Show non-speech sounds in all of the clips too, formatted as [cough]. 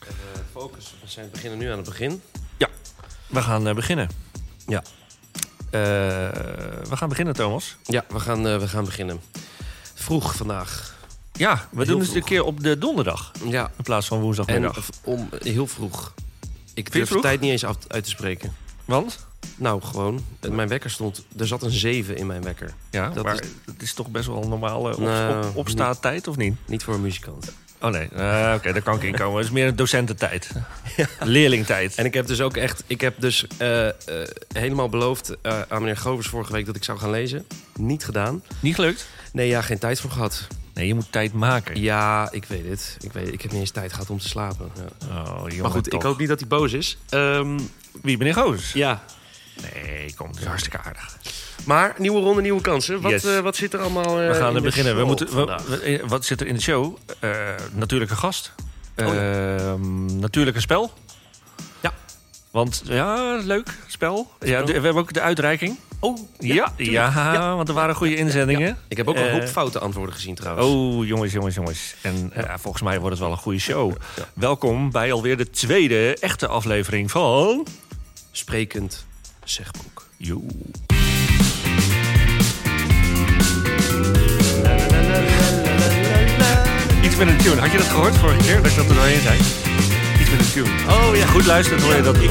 eh, focus. We zijn beginnen nu aan het begin. We gaan eh, beginnen. Ja. Eh, we gaan beginnen, Thomas. Ja, we gaan, eh, we gaan beginnen. Vroeg vandaag. Ja, we Heel doen het vroeg. een keer op de donderdag Ja, in plaats van en woensdagmiddag. v- om, eh, heel vroeg. Ik je durf de vroeg? tijd niet eens af, uit te spreken. Want? Nou, gewoon. eh, Mijn wekker stond... Er zat een 7 in mijn wekker. Ja, Dat maar het is toch best wel een normale op, Nou, op, opstaattijd, of niet? Niet voor een muzikant. Oh nee, Eh, oké, daar kan ik in komen. Het is meer een [laughs] docententijd. Leerlingtijd. En ik heb dus ook echt... Ik heb dus eh, eh, helemaal beloofd eh, aan meneer Govers vorige week dat ik zou gaan lezen. Niet gedaan. Niet gelukt? Nee, ja, geen tijd voor gehad. Nee, je moet tijd maken. Ja, ik weet het. Ik, weet, ik heb niet eens tijd gehad om te slapen. Ja. Oh, jongen, Maar goed, toch. ik hoop niet dat hij boos is. Ehm, Wie, meneer Goos? ja. Nee, kom, dat is hartstikke aardig. Maar nieuwe ronde, nieuwe kansen. Wat, Yes. eh, wat zit er allemaal eh, We gaan in er de beginnen. We show moeten, we- vandaag? we- eh, wat zit er in de show? Eh, natuurlijk een gast. Oh, ja. Ehm, natuurlijk een spel. Ja. Want, ja, leuk, spel. Ja, Spel. de- we hebben ook de uitreiking. Oh, Ja, ja, [laughs] want er waren goede inzendingen. ik heb ook een Eh, hoop foute antwoorden gezien trouwens. Oh, jongens, jongens, jongens. En eh, ja, volgens mij wordt het wel een goede show. Welkom bij alweer de tweede echte aflevering van... Sprekend zegbroek. Joe. Iets met een tune. Had je dat gehoord vorige keer? Dat ik dat er doorheen zei? Iets met een tune. Oh ja. Goed luisteren, hoor je dat. Ik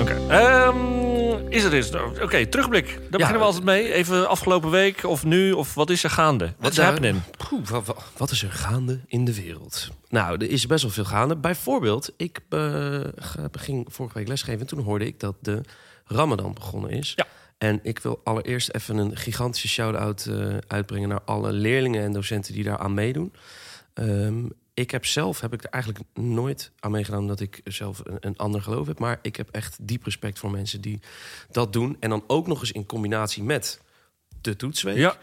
Oké. Ehm, is er eens. Oké, terugblik. Daar beginnen we altijd mee. Even afgelopen week of nu of wat is er gaande? Wat is Nou, happening? Poeh, wa- wa- wat is er gaande in de wereld? Nou, er is best wel veel gaande. Bijvoorbeeld, ik eh, ga- ging vorige week lesgeven en toen hoorde ik dat de Ramadan begonnen is. Ja. En ik wil allereerst even een gigantische shout-out eh, uitbrengen naar alle leerlingen en docenten die daar aan meedoen. Ehm, ik heb zelf heb ik er eigenlijk nooit aan meegedaan omdat ik zelf een, een ander geloof heb. Maar ik heb echt diep respect voor mensen die dat doen. En dan ook nog eens in combinatie met de toetsweek. Ja.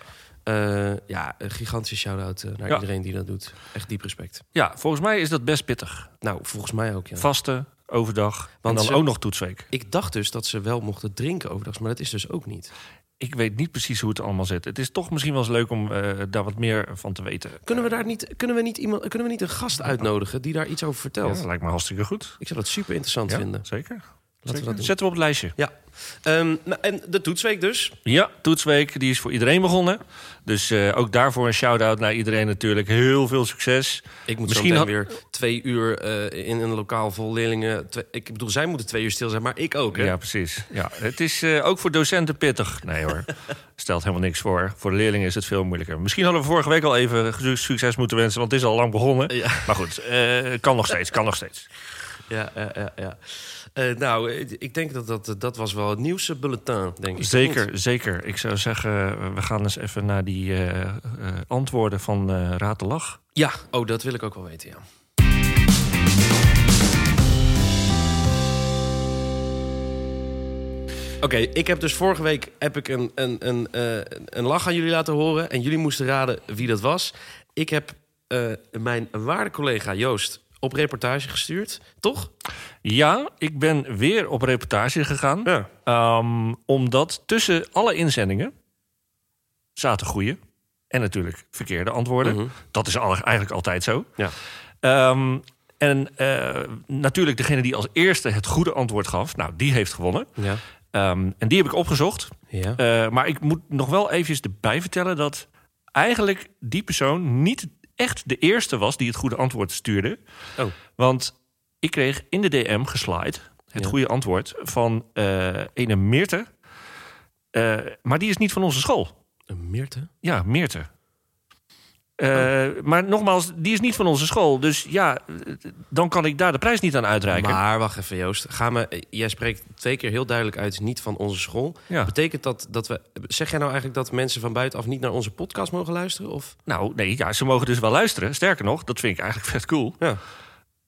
Eh, ja, een gigantische shout-out eh, naar Ja. iedereen die dat doet. Echt diep respect. ja, volgens mij is dat best pittig. Nou, volgens mij ook, ja. Vasten, overdag en Want dan ze- ook nog toetsweek. Ik dacht dus dat ze wel mochten drinken overdag, maar dat is dus ook niet. Ik weet niet precies hoe het allemaal zit. Het is toch misschien wel eens leuk om eh, daar wat meer van te weten. Kunnen we daar niet, kunnen we niet, iemand, kunnen we niet een gast uitnodigen die daar iets over Ja, vertelt? dat lijkt me hartstikke goed. Ik zou dat super interessant Ja, vinden. zeker. dat Zeker. doen. Zetten we op het lijstje. Ja. Ehm, nou, en de toetsweek dus. Ja, toetsweek, die is voor iedereen begonnen. Dus eh, ook daarvoor een shout-out naar iedereen natuurlijk. Heel veel succes. Ik moet Misschien zo had- meteen weer twee uur eh, in een lokaal vol leerlingen. Twee- ik bedoel, zij moeten twee uur stil zijn, maar ik ook. Hè? Ja, precies. Ja, het is eh, ook voor docenten pittig. Nee hoor, [laughs] stelt helemaal niks voor. Voor de leerlingen is het veel moeilijker. Misschien hadden we vorige week al even su- succes moeten wensen... want het is al lang begonnen. Ja. Maar goed, eh, kan nog steeds, kan nog steeds. Ja, ja, ja. ja. Eh, nou, eh, ik denk dat, dat dat was wel het nieuwsbulletin, denk ik. Zeker, zeker. Ik zou zeggen, eh, we gaan eens even naar die eh, eh, antwoorden van eh Raad de Lach. Ja, oh, dat wil ik ook wel weten, ja. Oké, ik heb dus vorige week heb ik een, een, een, eh, een lach aan jullie laten horen. En jullie moesten raden wie dat was. Ik heb eh, mijn waarde collega Joost op reportage gestuurd. Toch? Ja, ik ben weer op reportage gegaan. Ja. Ehm, omdat tussen alle inzendingen zaten goede en natuurlijk verkeerde antwoorden. Mhm. Dat is al- eigenlijk altijd zo. Ja. Ehm, en eh, natuurlijk degene die als eerste het goede antwoord gaf, nou, die heeft gewonnen. Ja. Ehm, en die heb ik opgezocht. ja. Eh, maar ik moet nog wel eventjes erbij vertellen dat eigenlijk die persoon niet echt de eerste was die het goede antwoord stuurde. Oh. Want ik kreeg in de DM geslaaid het Ja. goede antwoord van eh ene Meerte. Eh, maar die is niet van onze school. Een Eh, Meerte? Ja, Meerte. Eh, Oh. Maar nogmaals, die is niet van onze school. Dus ja, eh, dan kan ik daar de prijs niet aan uitreiken. Maar wacht even, Joost. Ga me, eh, jij spreekt twee keer heel duidelijk uit, niet van onze school. Ja. Betekent dat dat we. Zeg jij nou eigenlijk dat mensen van buitenaf niet naar onze podcast mogen luisteren? Of? Nou, nee, ja, ze mogen dus wel luisteren. Sterker nog, dat vind ik eigenlijk vet cool. Ja.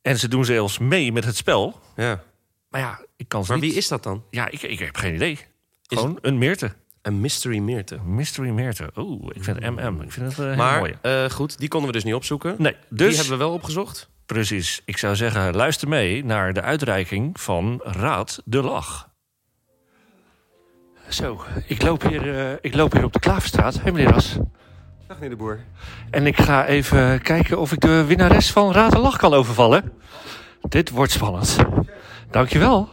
En ze doen zelfs mee met het spel. ja. Maar ja, ik kan ze Maar niet... wie is dat dan? Ja, ik, ik heb geen idee. Gewoon een Meerte. Een mystery Meerte. Mystery Meerte. Oeh, ik vind MM. Ik vind het eh, heel mooi. Maar eh, goed, die konden we dus niet opzoeken. Nee, Die dus hebben we wel opgezocht. precies. Ik zou zeggen, luister mee naar de uitreiking van Raad de Lach. Zo, ik loop hier, ik loop hier op de Klaverstraat. Hé meneer Ras. Dag meneer de Boer. En ik ga even kijken of ik de winnares van Raad en Lach kan overvallen. Dit wordt spannend. Dankjewel.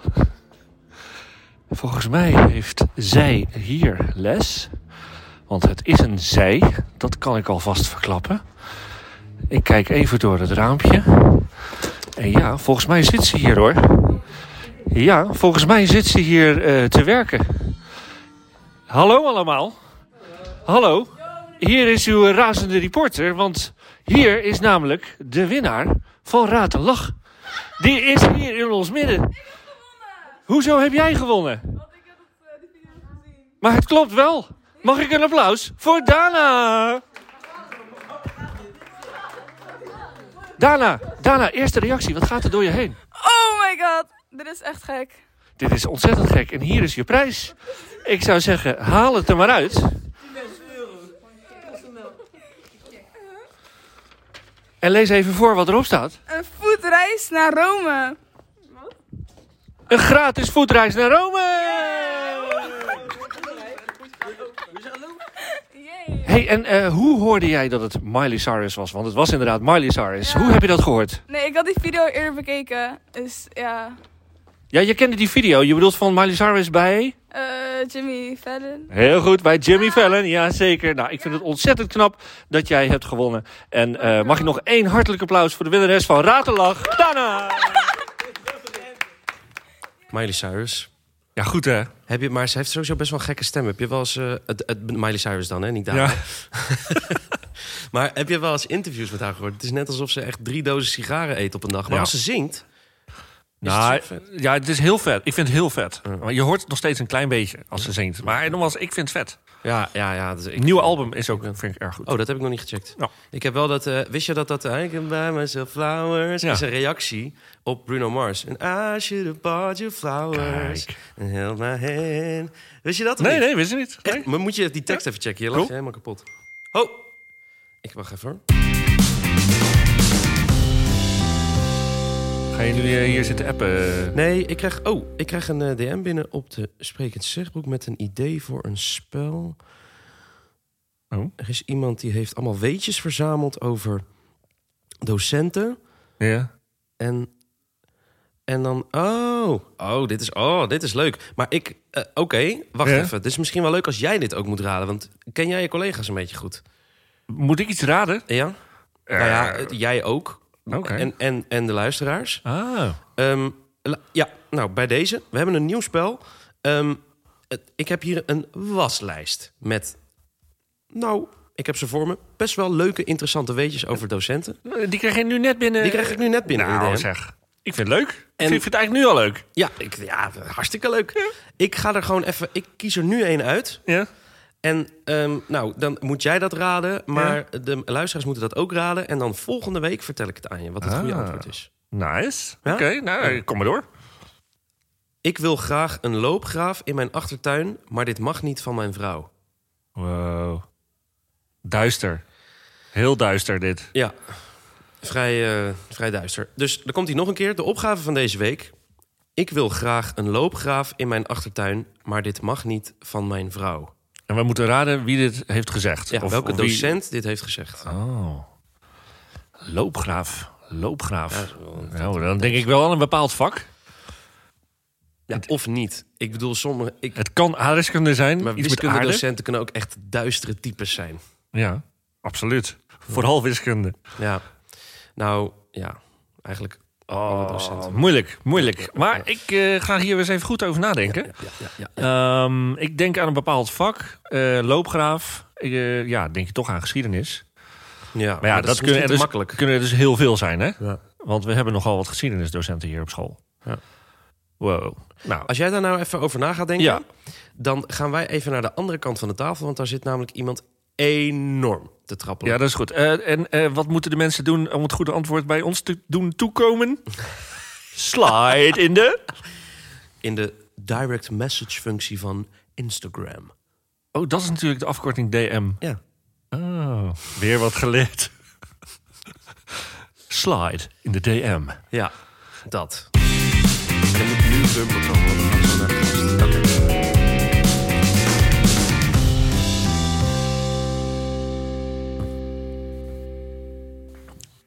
Volgens mij heeft zij hier les. Want het is een zij, dat kan ik alvast verklappen. Ik kijk even door het raampje. En ja, volgens mij zit ze hier hoor. Ja, volgens mij zit ze hier eh, te werken. Hallo allemaal. Hallo. Hier is uw razende reporter, want hier is namelijk de winnaar van Raad en Lach. Die is hier in ons midden. Hoezo heb jij gewonnen? Want ik heb het, eh, die video's gezien. Maar het klopt wel. Mag ik een applaus voor Dana? Dana, Dana, eerste reactie. Wat gaat er door je heen? Oh my god, dit is echt gek. Dit is ontzettend gek en hier is je prijs. Ik zou zeggen, haal het er maar uit. En lees even voor wat erop staat. Een voetreis naar Rome. [laughs] Een gratis voetreis naar Rome! Yay. Hey, en eh, hoe hoorde jij dat het Miley Cyrus was? Want het was inderdaad Miley Cyrus. Ja. Hoe heb je dat gehoord? Nee, ik had die video eerder bekeken. Dus ja, Ja, je kende die video. Je bedoelt van Miley Cyrus bij... Eh, Jimmy Fallon. Heel goed, bij Jimmy Fallon. Ja, zeker. Nou, ik vind het ontzettend knap dat jij hebt gewonnen. En eh, mag ik nog één hartelijk applaus voor de winnares van Ratelach, Dana! Miley Cyrus. Ja, goed hè? Heb je, maar ze heeft sowieso best wel een gekke stem. Heb je wel eens... eh, het, het, Miley Cyrus dan, hè? Niet daar. [laughs] Maar heb je wel eens interviews met haar gehoord? Het is net alsof ze echt drie dozen sigaren eet op een dag. Maar Ja. als ze zingt... Is Nou, het zo vet? ja, het is heel vet. Ik vind het heel vet. Maar je hoort het nog steeds een klein beetje als ze zingt. Maar nogmaals, ik vind het vet. Ja, ja, ja. dus ik- Het nieuwe album is ook, vind ik erg goed. Oh, dat heb ik nog niet gecheckt. Ja. Ik heb wel dat... eh, wist je dat dat... I can buy myself flowers... Ja. is een reactie op Bruno Mars. En I should have bought you flowers... Kijk. And held my hand. Wist je dat of nee, niet? nee, wist je niet. Nee. Echt? Maar moet je die tekst even checken? Je lacht Cool. je helemaal kapot. Oh! Ik wacht even hoor. Ga je nu eh, hier zitten appen? Nee, ik krijg, oh, ik krijg een eh, DM binnen op de Sprekend Zegboek met een idee voor een spel. Oh. Er is iemand die heeft allemaal weetjes verzameld over docenten. Ja. En, en dan, oh, oh dit, is, oh, dit is leuk. Maar ik, eh, oké, wacht Ja? even. Het is misschien wel leuk als jij dit ook moet raden. Want ken jij je collega's een beetje goed? Moet ik iets raden? Ja? nou ja, eh, jij ook. Oké. En, en, en de luisteraars. Ah. Ehm, la- ja, nou, bij deze. We hebben een nieuw spel. Ehm, het- ik heb hier een waslijst met... Nou, ik heb ze voor me. Best wel leuke, interessante weetjes over docenten. Eh, Die krijg je nu net binnen. Die krijg ik nu net binnen. in de Nou DM. zeg, ik vind het leuk. En- Ik vind het eigenlijk nu al leuk. ja, ik, ja, hartstikke leuk. Ik ga er gewoon even... Ik kies er nu één uit. Ja. En ehm, nou, dan moet jij dat raden. Maar de luisteraars moeten dat ook raden. En dan volgende week vertel ik het aan je. Wat het goede Ah. antwoord is. Nice. Ja? Oké, nou, kom maar door. Ik wil graag een loopgraaf in mijn achtertuin. Maar dit mag niet van mijn vrouw. Wow. Duister. Heel duister dit. Ja, vrij, eh, vrij duister. Dus dan komt hij nog een keer. De opgave van deze week. Ik wil graag een loopgraaf in mijn achtertuin, maar dit mag niet van mijn vrouw. En we moeten raden wie dit heeft gezegd. Ja, Of- welke of wie- docent dit heeft gezegd. Oh. Loopgraaf. Loopgraaf. nou, dan denk ik wel aan een bepaald vak. Ja, of niet. Ik bedoel, sommige... Ik, Het kan aardrijkskunde zijn. maar iets met aarde. wiskundedocenten kunnen ook echt duistere types zijn. Ja, absoluut. Vooral wiskunde. Ja. Nou, ja. Eigenlijk Oh, alle docenten. Moeilijk, moeilijk. Maar ik eh, ga hier eens even goed over nadenken. Ja, ja, ja. Ehm, ik denk aan een bepaald vak. eh, loopgraaf. Ik, eh, ja, denk je toch aan geschiedenis. Ja, Maar ja, dat, kunnen, er is misschien dus, te makkelijk. kunnen er dus heel veel zijn, hè? Ja. Want we hebben nogal wat geschiedenisdocenten hier op school. Ja. Wow. Nou, Als jij daar nou even over na gaat denken, Ja. dan gaan wij even naar de andere kant van de tafel. Want daar zit namelijk iemand enorm te trappelen. ja, dat is goed. Eh, en eh, wat moeten de mensen doen om het goede antwoord bij ons te doen toekomen? Slide in de... In de direct message functie van Instagram. Oh, dat is natuurlijk de afkorting DM. Ja. Oh, weer wat geleerd. Slide in de DM. Ja, dat. Dan moet nu een bumper komen, want dan gaan we zo naar de gast.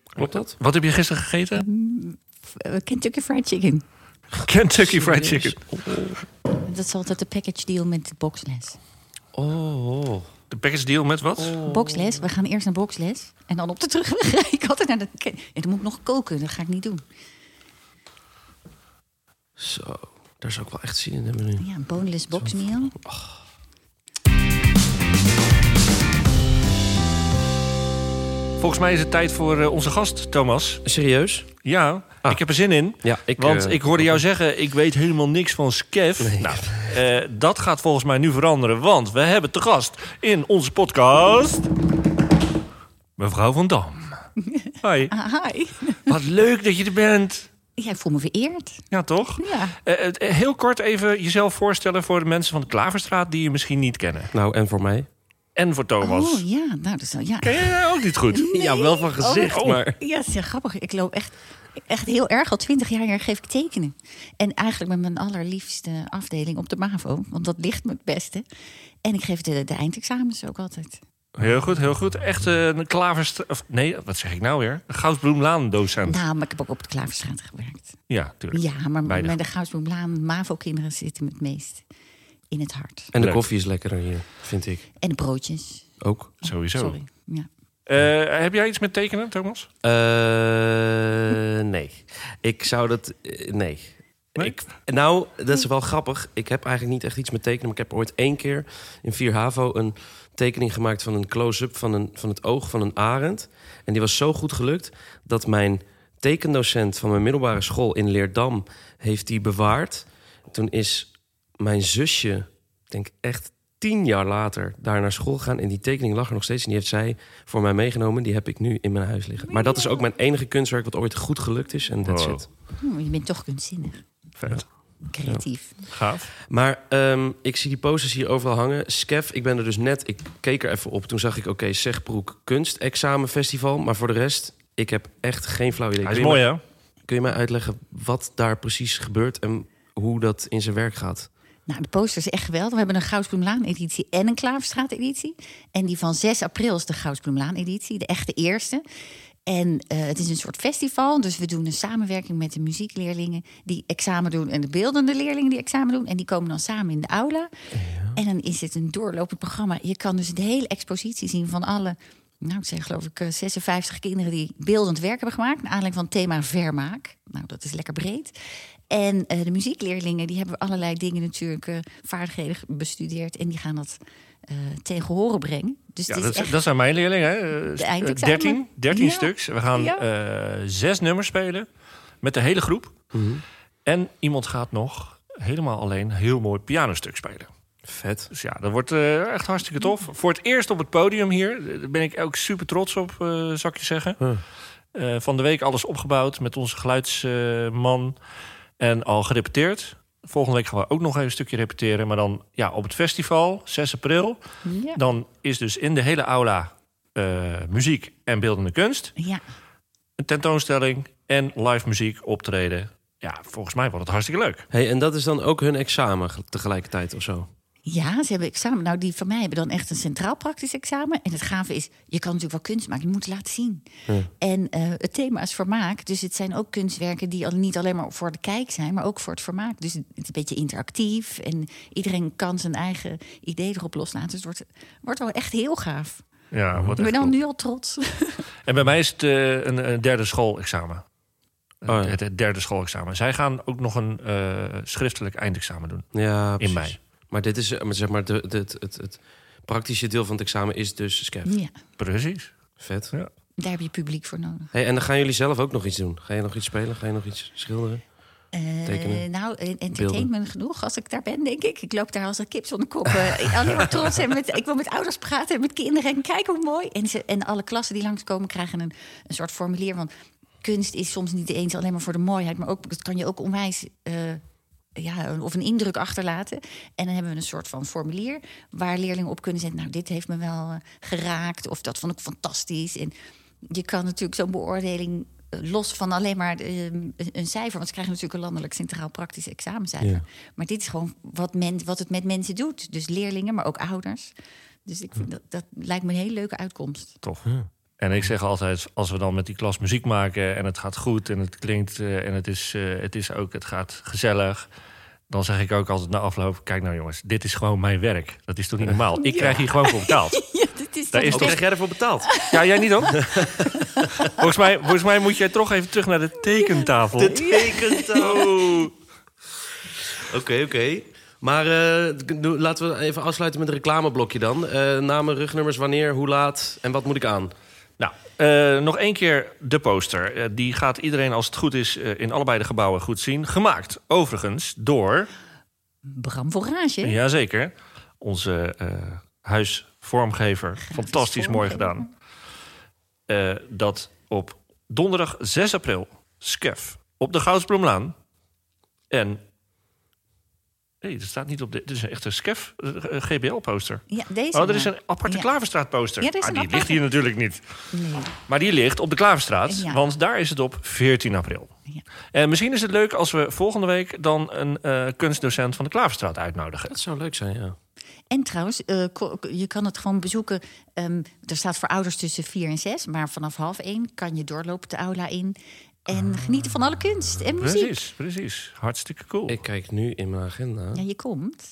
Klopt dat? Wat heb je gisteren gegeten? Eh, Kentucky Fried Chicken. Kentucky Fried Chicken. Dat is altijd de package deal met de boxles. Oh, oh. De package deal met wat? Boxles, we gaan eerst naar boxles. En dan op de terugweg [laughs] rijd ik altijd naar de... ken- En dan moet ik nog koken, dat ga ik niet doen. Zo, daar zou ik wel echt zin in hebben nu. Ja, een boneless boxmeal. Volgens mij is het tijd voor eh, onze gast, Thomas. Serieus? Ja, Ah. ik heb er zin in. Ja, ik... Want eh, ik hoorde [laughs] jou zeggen, ik weet helemaal niks van Skev. Nee. Nou, eh, dat gaat volgens mij nu veranderen. Want we hebben te gast in onze podcast... Mevrouw van [laughs] Dam. Hoi. Ah, hi. Wat leuk dat je er bent. Ja, ik voel me vereerd. Ja, toch? Ja. Eh, eh, heel kort even jezelf voorstellen voor de mensen van de Klaverstraat... die je misschien niet kennen. Nou, en voor mij? En voor Thomas. Oh, ja. Nou, dat is wel... Ja, Ken je ook niet goed? Ja, wel van gezicht, Oh. maar... ja dat is heel grappig. Ik loop echt, echt heel erg. Al twintig jaar geef ik tekenen. En eigenlijk met mijn allerliefste afdeling op de MAVO. Want dat ligt me het beste. En ik geef de, de eindexamens ook altijd. Heel goed, heel goed. Echt eh, een klaverstraat... Of nee, wat zeg ik nou weer? Een Goudsbloemlaan-docent. Nou, maar ik heb ook op de Klaverstraat gewerkt. Ja, tuurlijk. Ja, maar Weinig. met de Goudsbloemlaan, MAVO-kinderen zitten me het meest in het hart. En de Leuk. koffie is lekkerder hier, vind ik. En de broodjes. Ook. Sowieso. Sorry. Ja. Eh, heb jij iets met tekenen, Thomas? Eh, nee. Ik zou dat... eh, nee. Nee? Ik, nou, dat is wel grappig. Ik heb eigenlijk niet echt iets met tekenen. Maar ik heb ooit één keer in 4 HAVO een tekening gemaakt... van een close-up van, een, van het oog van een arend. En die was zo goed gelukt dat mijn tekendocent... van mijn middelbare school in Leerdam heeft die bewaard. Toen is mijn zusje, ik denk echt tien jaar later, daar naar school gegaan. En die tekening lag er nog steeds. En die heeft zij voor mij meegenomen. Die heb ik nu in mijn huis liggen. Maar dat is ook mijn enige kunstwerk wat ooit goed gelukt is. En that's Wow. it. Hm, je bent toch kunstzinnig. Vet. Creatief. Gaaf. Maar ehm, ik zie die posters hier overal hangen. Skef, ik ben er dus net, ik keek er even op. Toen zag ik, oké, Zegbroek Kunstexamenfestival. Maar voor de rest, ik heb echt geen flauw idee. Hij is kun, je mooi, hè? Dus mij- kun je mij uitleggen wat daar precies gebeurt en hoe dat in zijn werk gaat? Nou, de poster is echt geweldig. We hebben een Goudsbloemlaan-editie en een Klaverstraat-editie. En die van 6 april is de Goudsbloemlaan-editie, de echte eerste. En eh, het is een soort festival, dus we doen een samenwerking met de muziekleerlingen die examen doen en de beeldende leerlingen die examen doen. En die komen dan samen in de aula. En dan is het een doorlopend programma. Je kan dus de hele expositie zien van alle, nou, ik zeg geloof ik eh, 56 kinderen die beeldend werk hebben gemaakt. Naar aanleiding van het thema vermaak. Nou, dat is lekker breed. En eh, de muziekleerlingen, die hebben allerlei dingen natuurlijk, eh, vaardigheden ge- bestudeerd. En die gaan dat eh, tegen horen brengen. Dus Ja, het dat, is echt dat zijn mijn leerlingen, hè? De Eh, eindexamen. 13, 13 Ja. stuks. We gaan Ja. eh, zes nummers spelen met de hele groep. En iemand gaat nog helemaal alleen heel mooi pianostuk spelen. Vet. Dus ja, dat wordt eh, echt hartstikke tof. Voor het eerst op het podium hier. Daar ben ik ook super trots op, eh zou ik je zeggen. Huh. Eh, van de week alles opgebouwd met onze geluidsman. eh, en al gerepeteerd. Volgende week gaan we ook nog even een stukje repeteren. Maar dan ja, op het festival, 6 april. Ja. Dan is dus in de hele aula eh, muziek en beeldende kunst. ja. Een tentoonstelling en live muziek optreden. Ja, volgens mij wordt het hartstikke leuk. Hey, en dat is dan ook hun examen ge- tegelijkertijd of zo? Ja, ze hebben examen. Nou, die van mij hebben dan echt een centraal praktisch examen. En het gave is, je kan natuurlijk wel kunst maken, je moet het laten zien. En eh, het thema is vermaak. Dus het zijn ook kunstwerken die al niet alleen maar voor de kijk zijn, maar ook voor het vermaak. Dus het is een beetje interactief en iedereen kan zijn eigen idee erop loslaten. Dus het wordt, wordt wel echt heel gaaf. Ja, wat Ik ben dan nu al trots. En bij mij is het eh, een, een derde schoolexamen. Oh, ja. het, het derde schoolexamen. Zij gaan ook nog een eh, schriftelijk eindexamen doen Ja, precies. in mei. Maar dit is, eh, maar zeg maar, de, de- het, het, het praktische deel van het examen is dus Skef. Hm. ja, Precies. Vet. daar heb je publiek voor nodig. Hey, en dan gaan jullie zelf ook nog iets doen. Ga je nog iets spelen? Ga je nog iets schilderen? Eh, Tekenen. nou, en- entertainment genoeg als ik daar ben, denk ik. Ik loop daar als een kip zonder kop. eh, alleen maar trots. En met, ik wil met ouders praten en met kinderen. En kijken hoe mooi. En, ze, en alle klassen die langskomen krijgen een, een soort formulier. Want kunst is soms niet eens alleen maar voor de mooiheid. Maar ook, dat kan je ook onwijs... eh, ja, een- of een indruk achterlaten. En dan hebben we een soort van formulier... waar leerlingen op kunnen zetten... nou, dit heeft me wel eh, geraakt. Of dat vond ik fantastisch. En je kan natuurlijk zo'n beoordeling eh, los van alleen maar eh, een een cijfer. Want ze krijgen natuurlijk een landelijk centraal praktisch examencijfer. Ja. Maar dit is gewoon wat, men, wat het met mensen doet. Dus leerlingen, maar ook ouders. Dus ik vind dat, dat lijkt me een hele leuke uitkomst. Tof. En ik zeg altijd, als we dan met die klas muziek maken en het gaat goed en het klinkt eh, en het is, eh, het is ook, het gaat gezellig. Dan zeg ik ook altijd na afloop, kijk nou jongens, dit is gewoon mijn werk. Dat is toch niet normaal? Ik krijg hier gewoon voor betaald. Ja, dit is Daar toch is echt- toch- krijg jij ervoor betaald? Ja, jij niet dan? [laughs] volgens, mij, volgens mij moet jij toch even terug naar de tekentafel. De tekentouw. [laughs] Oké, oké. Maar eh, d- doe- laten we even afsluiten met een reclameblokje dan. Eh, namen, rugnummers, wanneer, hoe laat en wat moet ik aan? Nou, eh, nog één keer de poster. Eh, die gaat iedereen, als het goed is, eh, in allebei de gebouwen goed zien. Gemaakt, overigens, door... Bram Vorage. Jazeker. Onze eh, huisvormgever. Fantastisch mooi gedaan. Eh, dat op donderdag 6 april, Skef, op de Goudsbloemlaan. En. Nee, dat staat niet op dit. Dit is een echte Skef eh, GBL-poster. Ja, deze. Oh, er is maar. een aparte nou? Ja. Klaverstraat-poster. Ja, er is Ah, een die ligt aparte. hier natuurlijk niet. Nee. Maar die ligt op de Klaverstraat, Ja. want daar is het op 14 april. Ja. En misschien is het leuk als we volgende week dan een eh, kunstdocent van de Klaverstraat uitnodigen. Dat zou leuk zijn, ja. En trouwens, eh, ko- je kan het gewoon bezoeken. Ehm, er staat voor ouders tussen 4 en 6, maar vanaf half 1 kan je doorlopen de aula in. En genieten van alle kunst en muziek. Precies, precies. Hartstikke cool. Ik kijk nu in mijn agenda. Ja, je komt.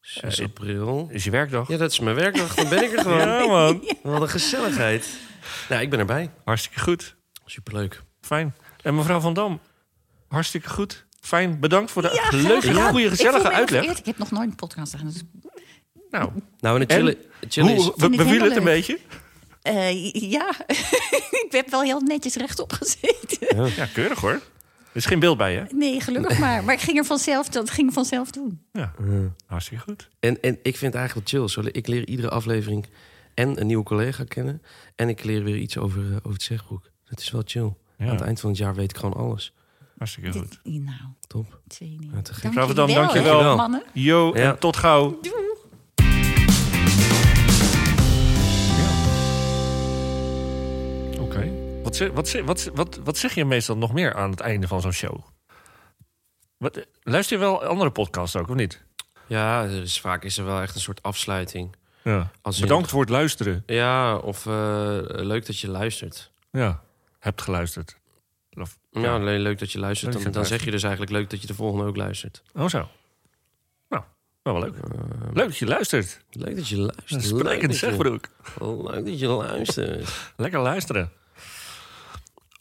6 Eh, ik- april. Is je werkdag? Ja, dat is mijn werkdag. Dan ben ik er gewoon. Ja, [laughs] man. Wat een gezelligheid. Nou, ik ben erbij. Hartstikke goed. Superleuk. Fijn. En mevrouw Van Dam, hartstikke goed. Fijn. Bedankt voor de Ja, graag leuke, gedaan. goede, ik voel gezellige me uitleg. vereerd. Ik heb nog nooit een podcast gedaan. Dus, Nou, Nou, en het En? chillen, het chillen is... hoe, be- ik beviel helemaal het een leuk. beetje? eh, ja, [laughs] ik heb wel heel netjes rechtop gezeten. Ja, keurig hoor. Er is geen beeld bij je. [laughs] Nee, gelukkig maar. Maar ik ging er vanzelf, dat ging ik vanzelf doen. Ja, hartstikke goed. Eh. En, en ik vind het eigenlijk wel chill. Zo, ik leer iedere aflevering en een nieuwe collega kennen. En ik leer weer iets over, eh, over het zegbroek. Dat is wel chill. Ja. Aan het eind van het jaar weet ik gewoon alles. Hartstikke goed. Dit- nou, Top. ik weet niet. Ja, te gek. Dank Mevrouw Van Dam, jullie wel, dankjewel. hè, mannen. Yo, Ja. en tot gauw. Ja. Oké. Wat, ze- wat, ze- wat, ze- wat, wat zeg je meestal nog meer aan het einde van zo'n show? Wat, eh, luister je wel andere podcasts ook, of niet? Ja, er is, vaak is er wel echt een soort afsluiting. Ja. Als in- Bedankt voor het luisteren. Ja, of eh, leuk dat je luistert. Ja. Hebt geluisterd. Of- Ja, le- leuk dat je luistert. Leuk Dan, dat je dan zeg je dus eigenlijk leuk dat je de volgende ook luistert. Eh, Oh, zo. Nou, wel, wel leuk. leuk dat je luistert. Leuk dat je luistert. leuk, Sprekend dat zeg, je, broek. leuk dat je luistert. Lekker luisteren.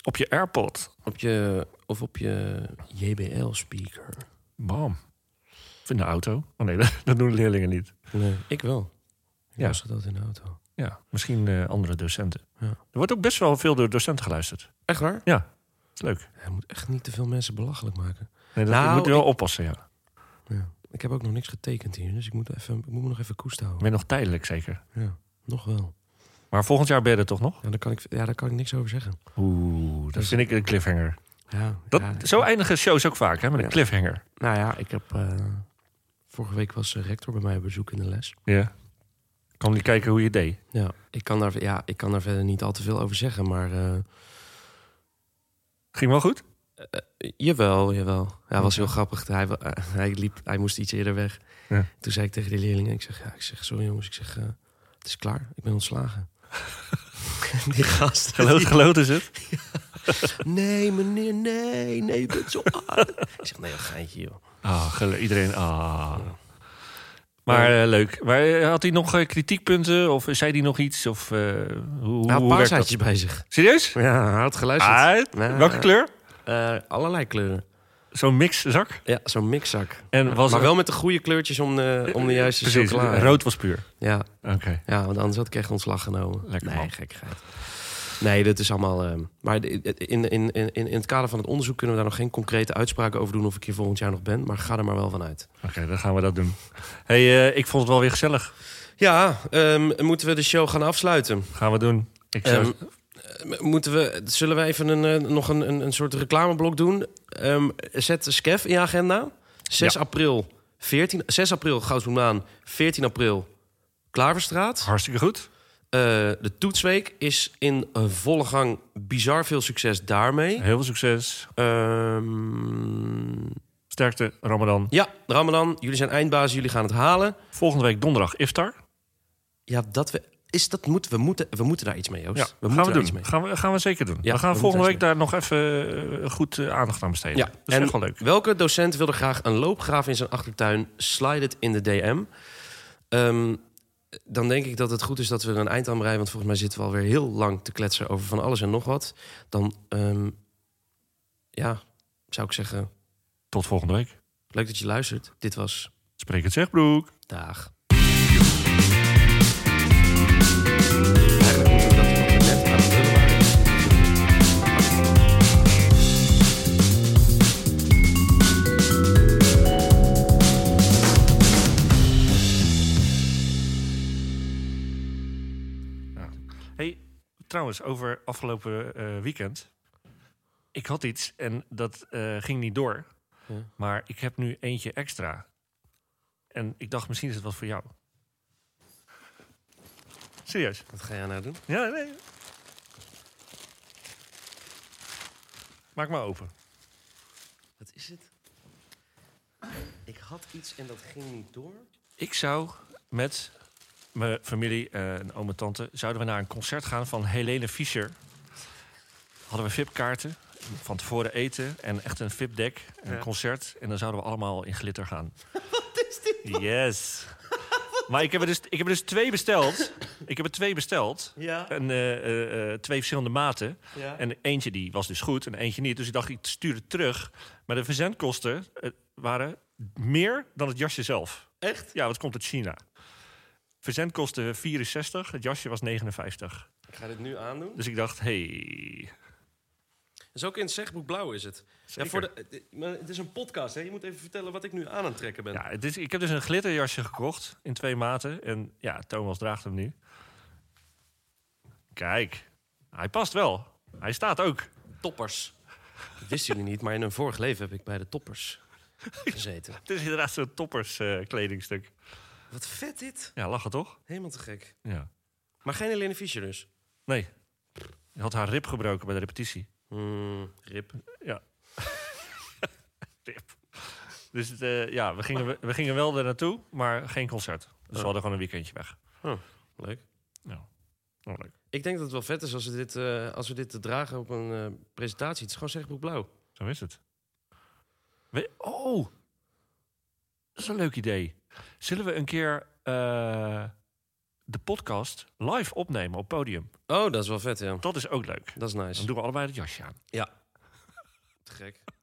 Op je AirPod. Op je, of op je JBL-speaker. Bam. Of in de auto. Oh nee, [laughs] dat, dat doen leerlingen niet. Nee, ik wel. Ik Ja. was dat in de auto. Ja, misschien eh, andere docenten. Ja. Er wordt ook best wel veel door docenten geluisterd. Echt waar? Ja, is leuk. Hij moet echt niet te veel mensen belachelijk maken. Nee, dat, Nou, je moet wel oppassen, ja. Ja. Ik heb ook nog niks getekend hier, dus ik moet, even, ik moet me nog even koest houden. Maar nog tijdelijk zeker. Ja, nog wel. Maar volgend jaar ben je er toch nog? Ja, daar kan ik, ja, daar kan ik niks over zeggen. Oeh, dat vind ik een cliffhanger. Ja, Dat, ja, zo eindigen shows ook vaak, hè, met een Ja. cliffhanger. Nou ja, ik heb. eh, vorige week was de rector bij mij op bezoek in de les. Ja. Kan niet kijken hoe je het deed. Ja, ik kan daar, ja, ik kan daar verder niet al te veel over zeggen, maar. eh, Ging wel goed? Jawel, jawel. Ja, was heel grappig. Hij, wa- eh, hij, liep, hij moest iets eerder weg. Ja. Toen zei ik tegen die leerlingen, ik zeg, ja, ik zeg, sorry jongens, ik zeg, eh, het is klaar, ik ben ontslagen. [laughs] die gast. Geloot, geloot is het. Nee, meneer, nee, nee, je [laughs] bent zo aardig. ik zeg, nee, een geintje, joh. Ah, gelo- iedereen. Ah. Maar eh, leuk. Maar eh, had hij nog eh, kritiekpunten? Of zei hij nog iets? Of eh, hoe, hoe Hij had werkt dat? paarsaatjes bij zich. Serieus? Ja, hij had geluisterd. Ah, Nou, welke kleur? eh, allerlei kleuren. Zo'n mixzak? Ja, zo'n mixzak. En was maar wel met de goede kleurtjes om de, om de juiste Precies, chocolade. rood was puur. Ja, Oké. ja, want anders had ik echt ontslag genomen. Lekker, nee, man. gekkigheid. Nee, dat is allemaal... ehm, maar de- in, in, in, in het kader van het onderzoek kunnen we daar nog geen concrete uitspraken over doen... of ik hier volgend jaar nog ben, maar ga er maar wel van uit. Oké, dan gaan we dat doen. hey, eh, ik vond het wel weer gezellig. Ja, ehm, moeten we de show gaan afsluiten? Gaan we doen. Ik zou... Ehm, M- Moeten we, zullen we even een, eh, nog een, een, een soort reclameblok doen? Ehm, zet Skef in je agenda. 6 Ja. april, 14, 6 april Goudsbloemlaan, 14 april Klaverstraat. Hartstikke goed. Eh, de toetsweek is in eh, volle gang. Bizar veel succes daarmee. Heel veel succes. Ehm, Sterkte, Ramadan. ja, Ramadan, jullie zijn eindbazen, jullie gaan het halen. Oh, Volgende week donderdag, iftar. Ja, dat we is dat moeten we, moeten, we moeten daar iets mee, Joost. Ja, we gaan moeten we daar doen. iets mee. Gaan, we, gaan we zeker doen. Ja, we gaan we volgende week moeten daar nog even eh, goed eh, aandacht aan besteden. Ja, dat is en- echt wel leuk. Welke docent wil er graag een loopgraaf in zijn achtertuin? Slide het in de DM. Ehm, dan denk ik dat het goed is dat we er een eind aan breien. Want volgens mij zitten we alweer heel lang te kletsen over van alles en nog wat. Dan, ehm, ja, zou ik zeggen, Tot volgende week. leuk dat je luistert. Dit was Spreek het zeg, broek. Dag. Eigenlijk moeten we dat nog net aan het lullen waren. Hey, trouwens, over afgelopen eh, weekend. Ik had iets en dat eh, ging niet door. Ja. Maar ik heb nu eentje extra. En ik dacht, misschien is het wat voor jou. Serieus? Wat ga jij nou doen? Ja, nee. Maak maar open. Wat is het? Ik had iets en dat ging niet door. Ik zou met mijn familie eh, en oom en tante... zouden we naar een concert gaan van Helene Fischer. Hadden we VIP-kaarten, van tevoren eten en echt een VIP-deck. Een Ja. concert en dan zouden we allemaal in glitter gaan. [laughs] Wat is dit? Yes. [laughs] maar ik heb, er dus, ik heb er dus twee besteld. Ik heb er twee besteld. Ja. En, eh, eh, eh, twee verschillende maten. ja. En eentje die was dus goed en eentje niet. Dus ik dacht, ik stuur het terug. Maar de verzendkosten eh, waren meer dan het jasje zelf. Echt? Ja, wat komt uit China. Verzendkosten 64, het jasje was 59. Ik ga dit nu aandoen. Dus ik dacht, hey. Dat is ook in het zegboek blauw is het. Ja, Zeker. voor de, eh, maar het is een podcast, hè? Je moet even vertellen wat ik nu aan aan het trekken ben. Ja, het is, ik heb dus een glitterjasje gekocht in twee maten. En ja, Thomas draagt hem nu. Kijk, hij past wel. Hij staat ook. Toppers. Dat wisten jullie niet, maar in een vorig leven heb ik bij de toppers gezeten. Het is inderdaad zo'n toppers eh, kledingstuk. Wat vet dit. Ja, lachen toch? Helemaal te gek. Ja. Maar geen Helene Fischer dus. Nee. Hij had haar rib gebroken bij de repetitie. Hmm, rip. Tip. Dus het, eh, ja, we gingen, we, gingen wel er naartoe, maar geen concert. Dus we Oh. hadden gewoon een weekendje weg. Leuk. Oh, leuk. Ik denk dat het wel vet is als we dit, eh, als we dit te dragen op een eh, presentatie. Het is gewoon zegboek blauw. Zo is het. We- oh, dat is een leuk idee. Zullen we een keer eh, de podcast live opnemen op podium? Oh, dat is wel vet, ja. Dat is ook leuk. Dat is Dan nice. doen we allebei het jasje aan. Te gek.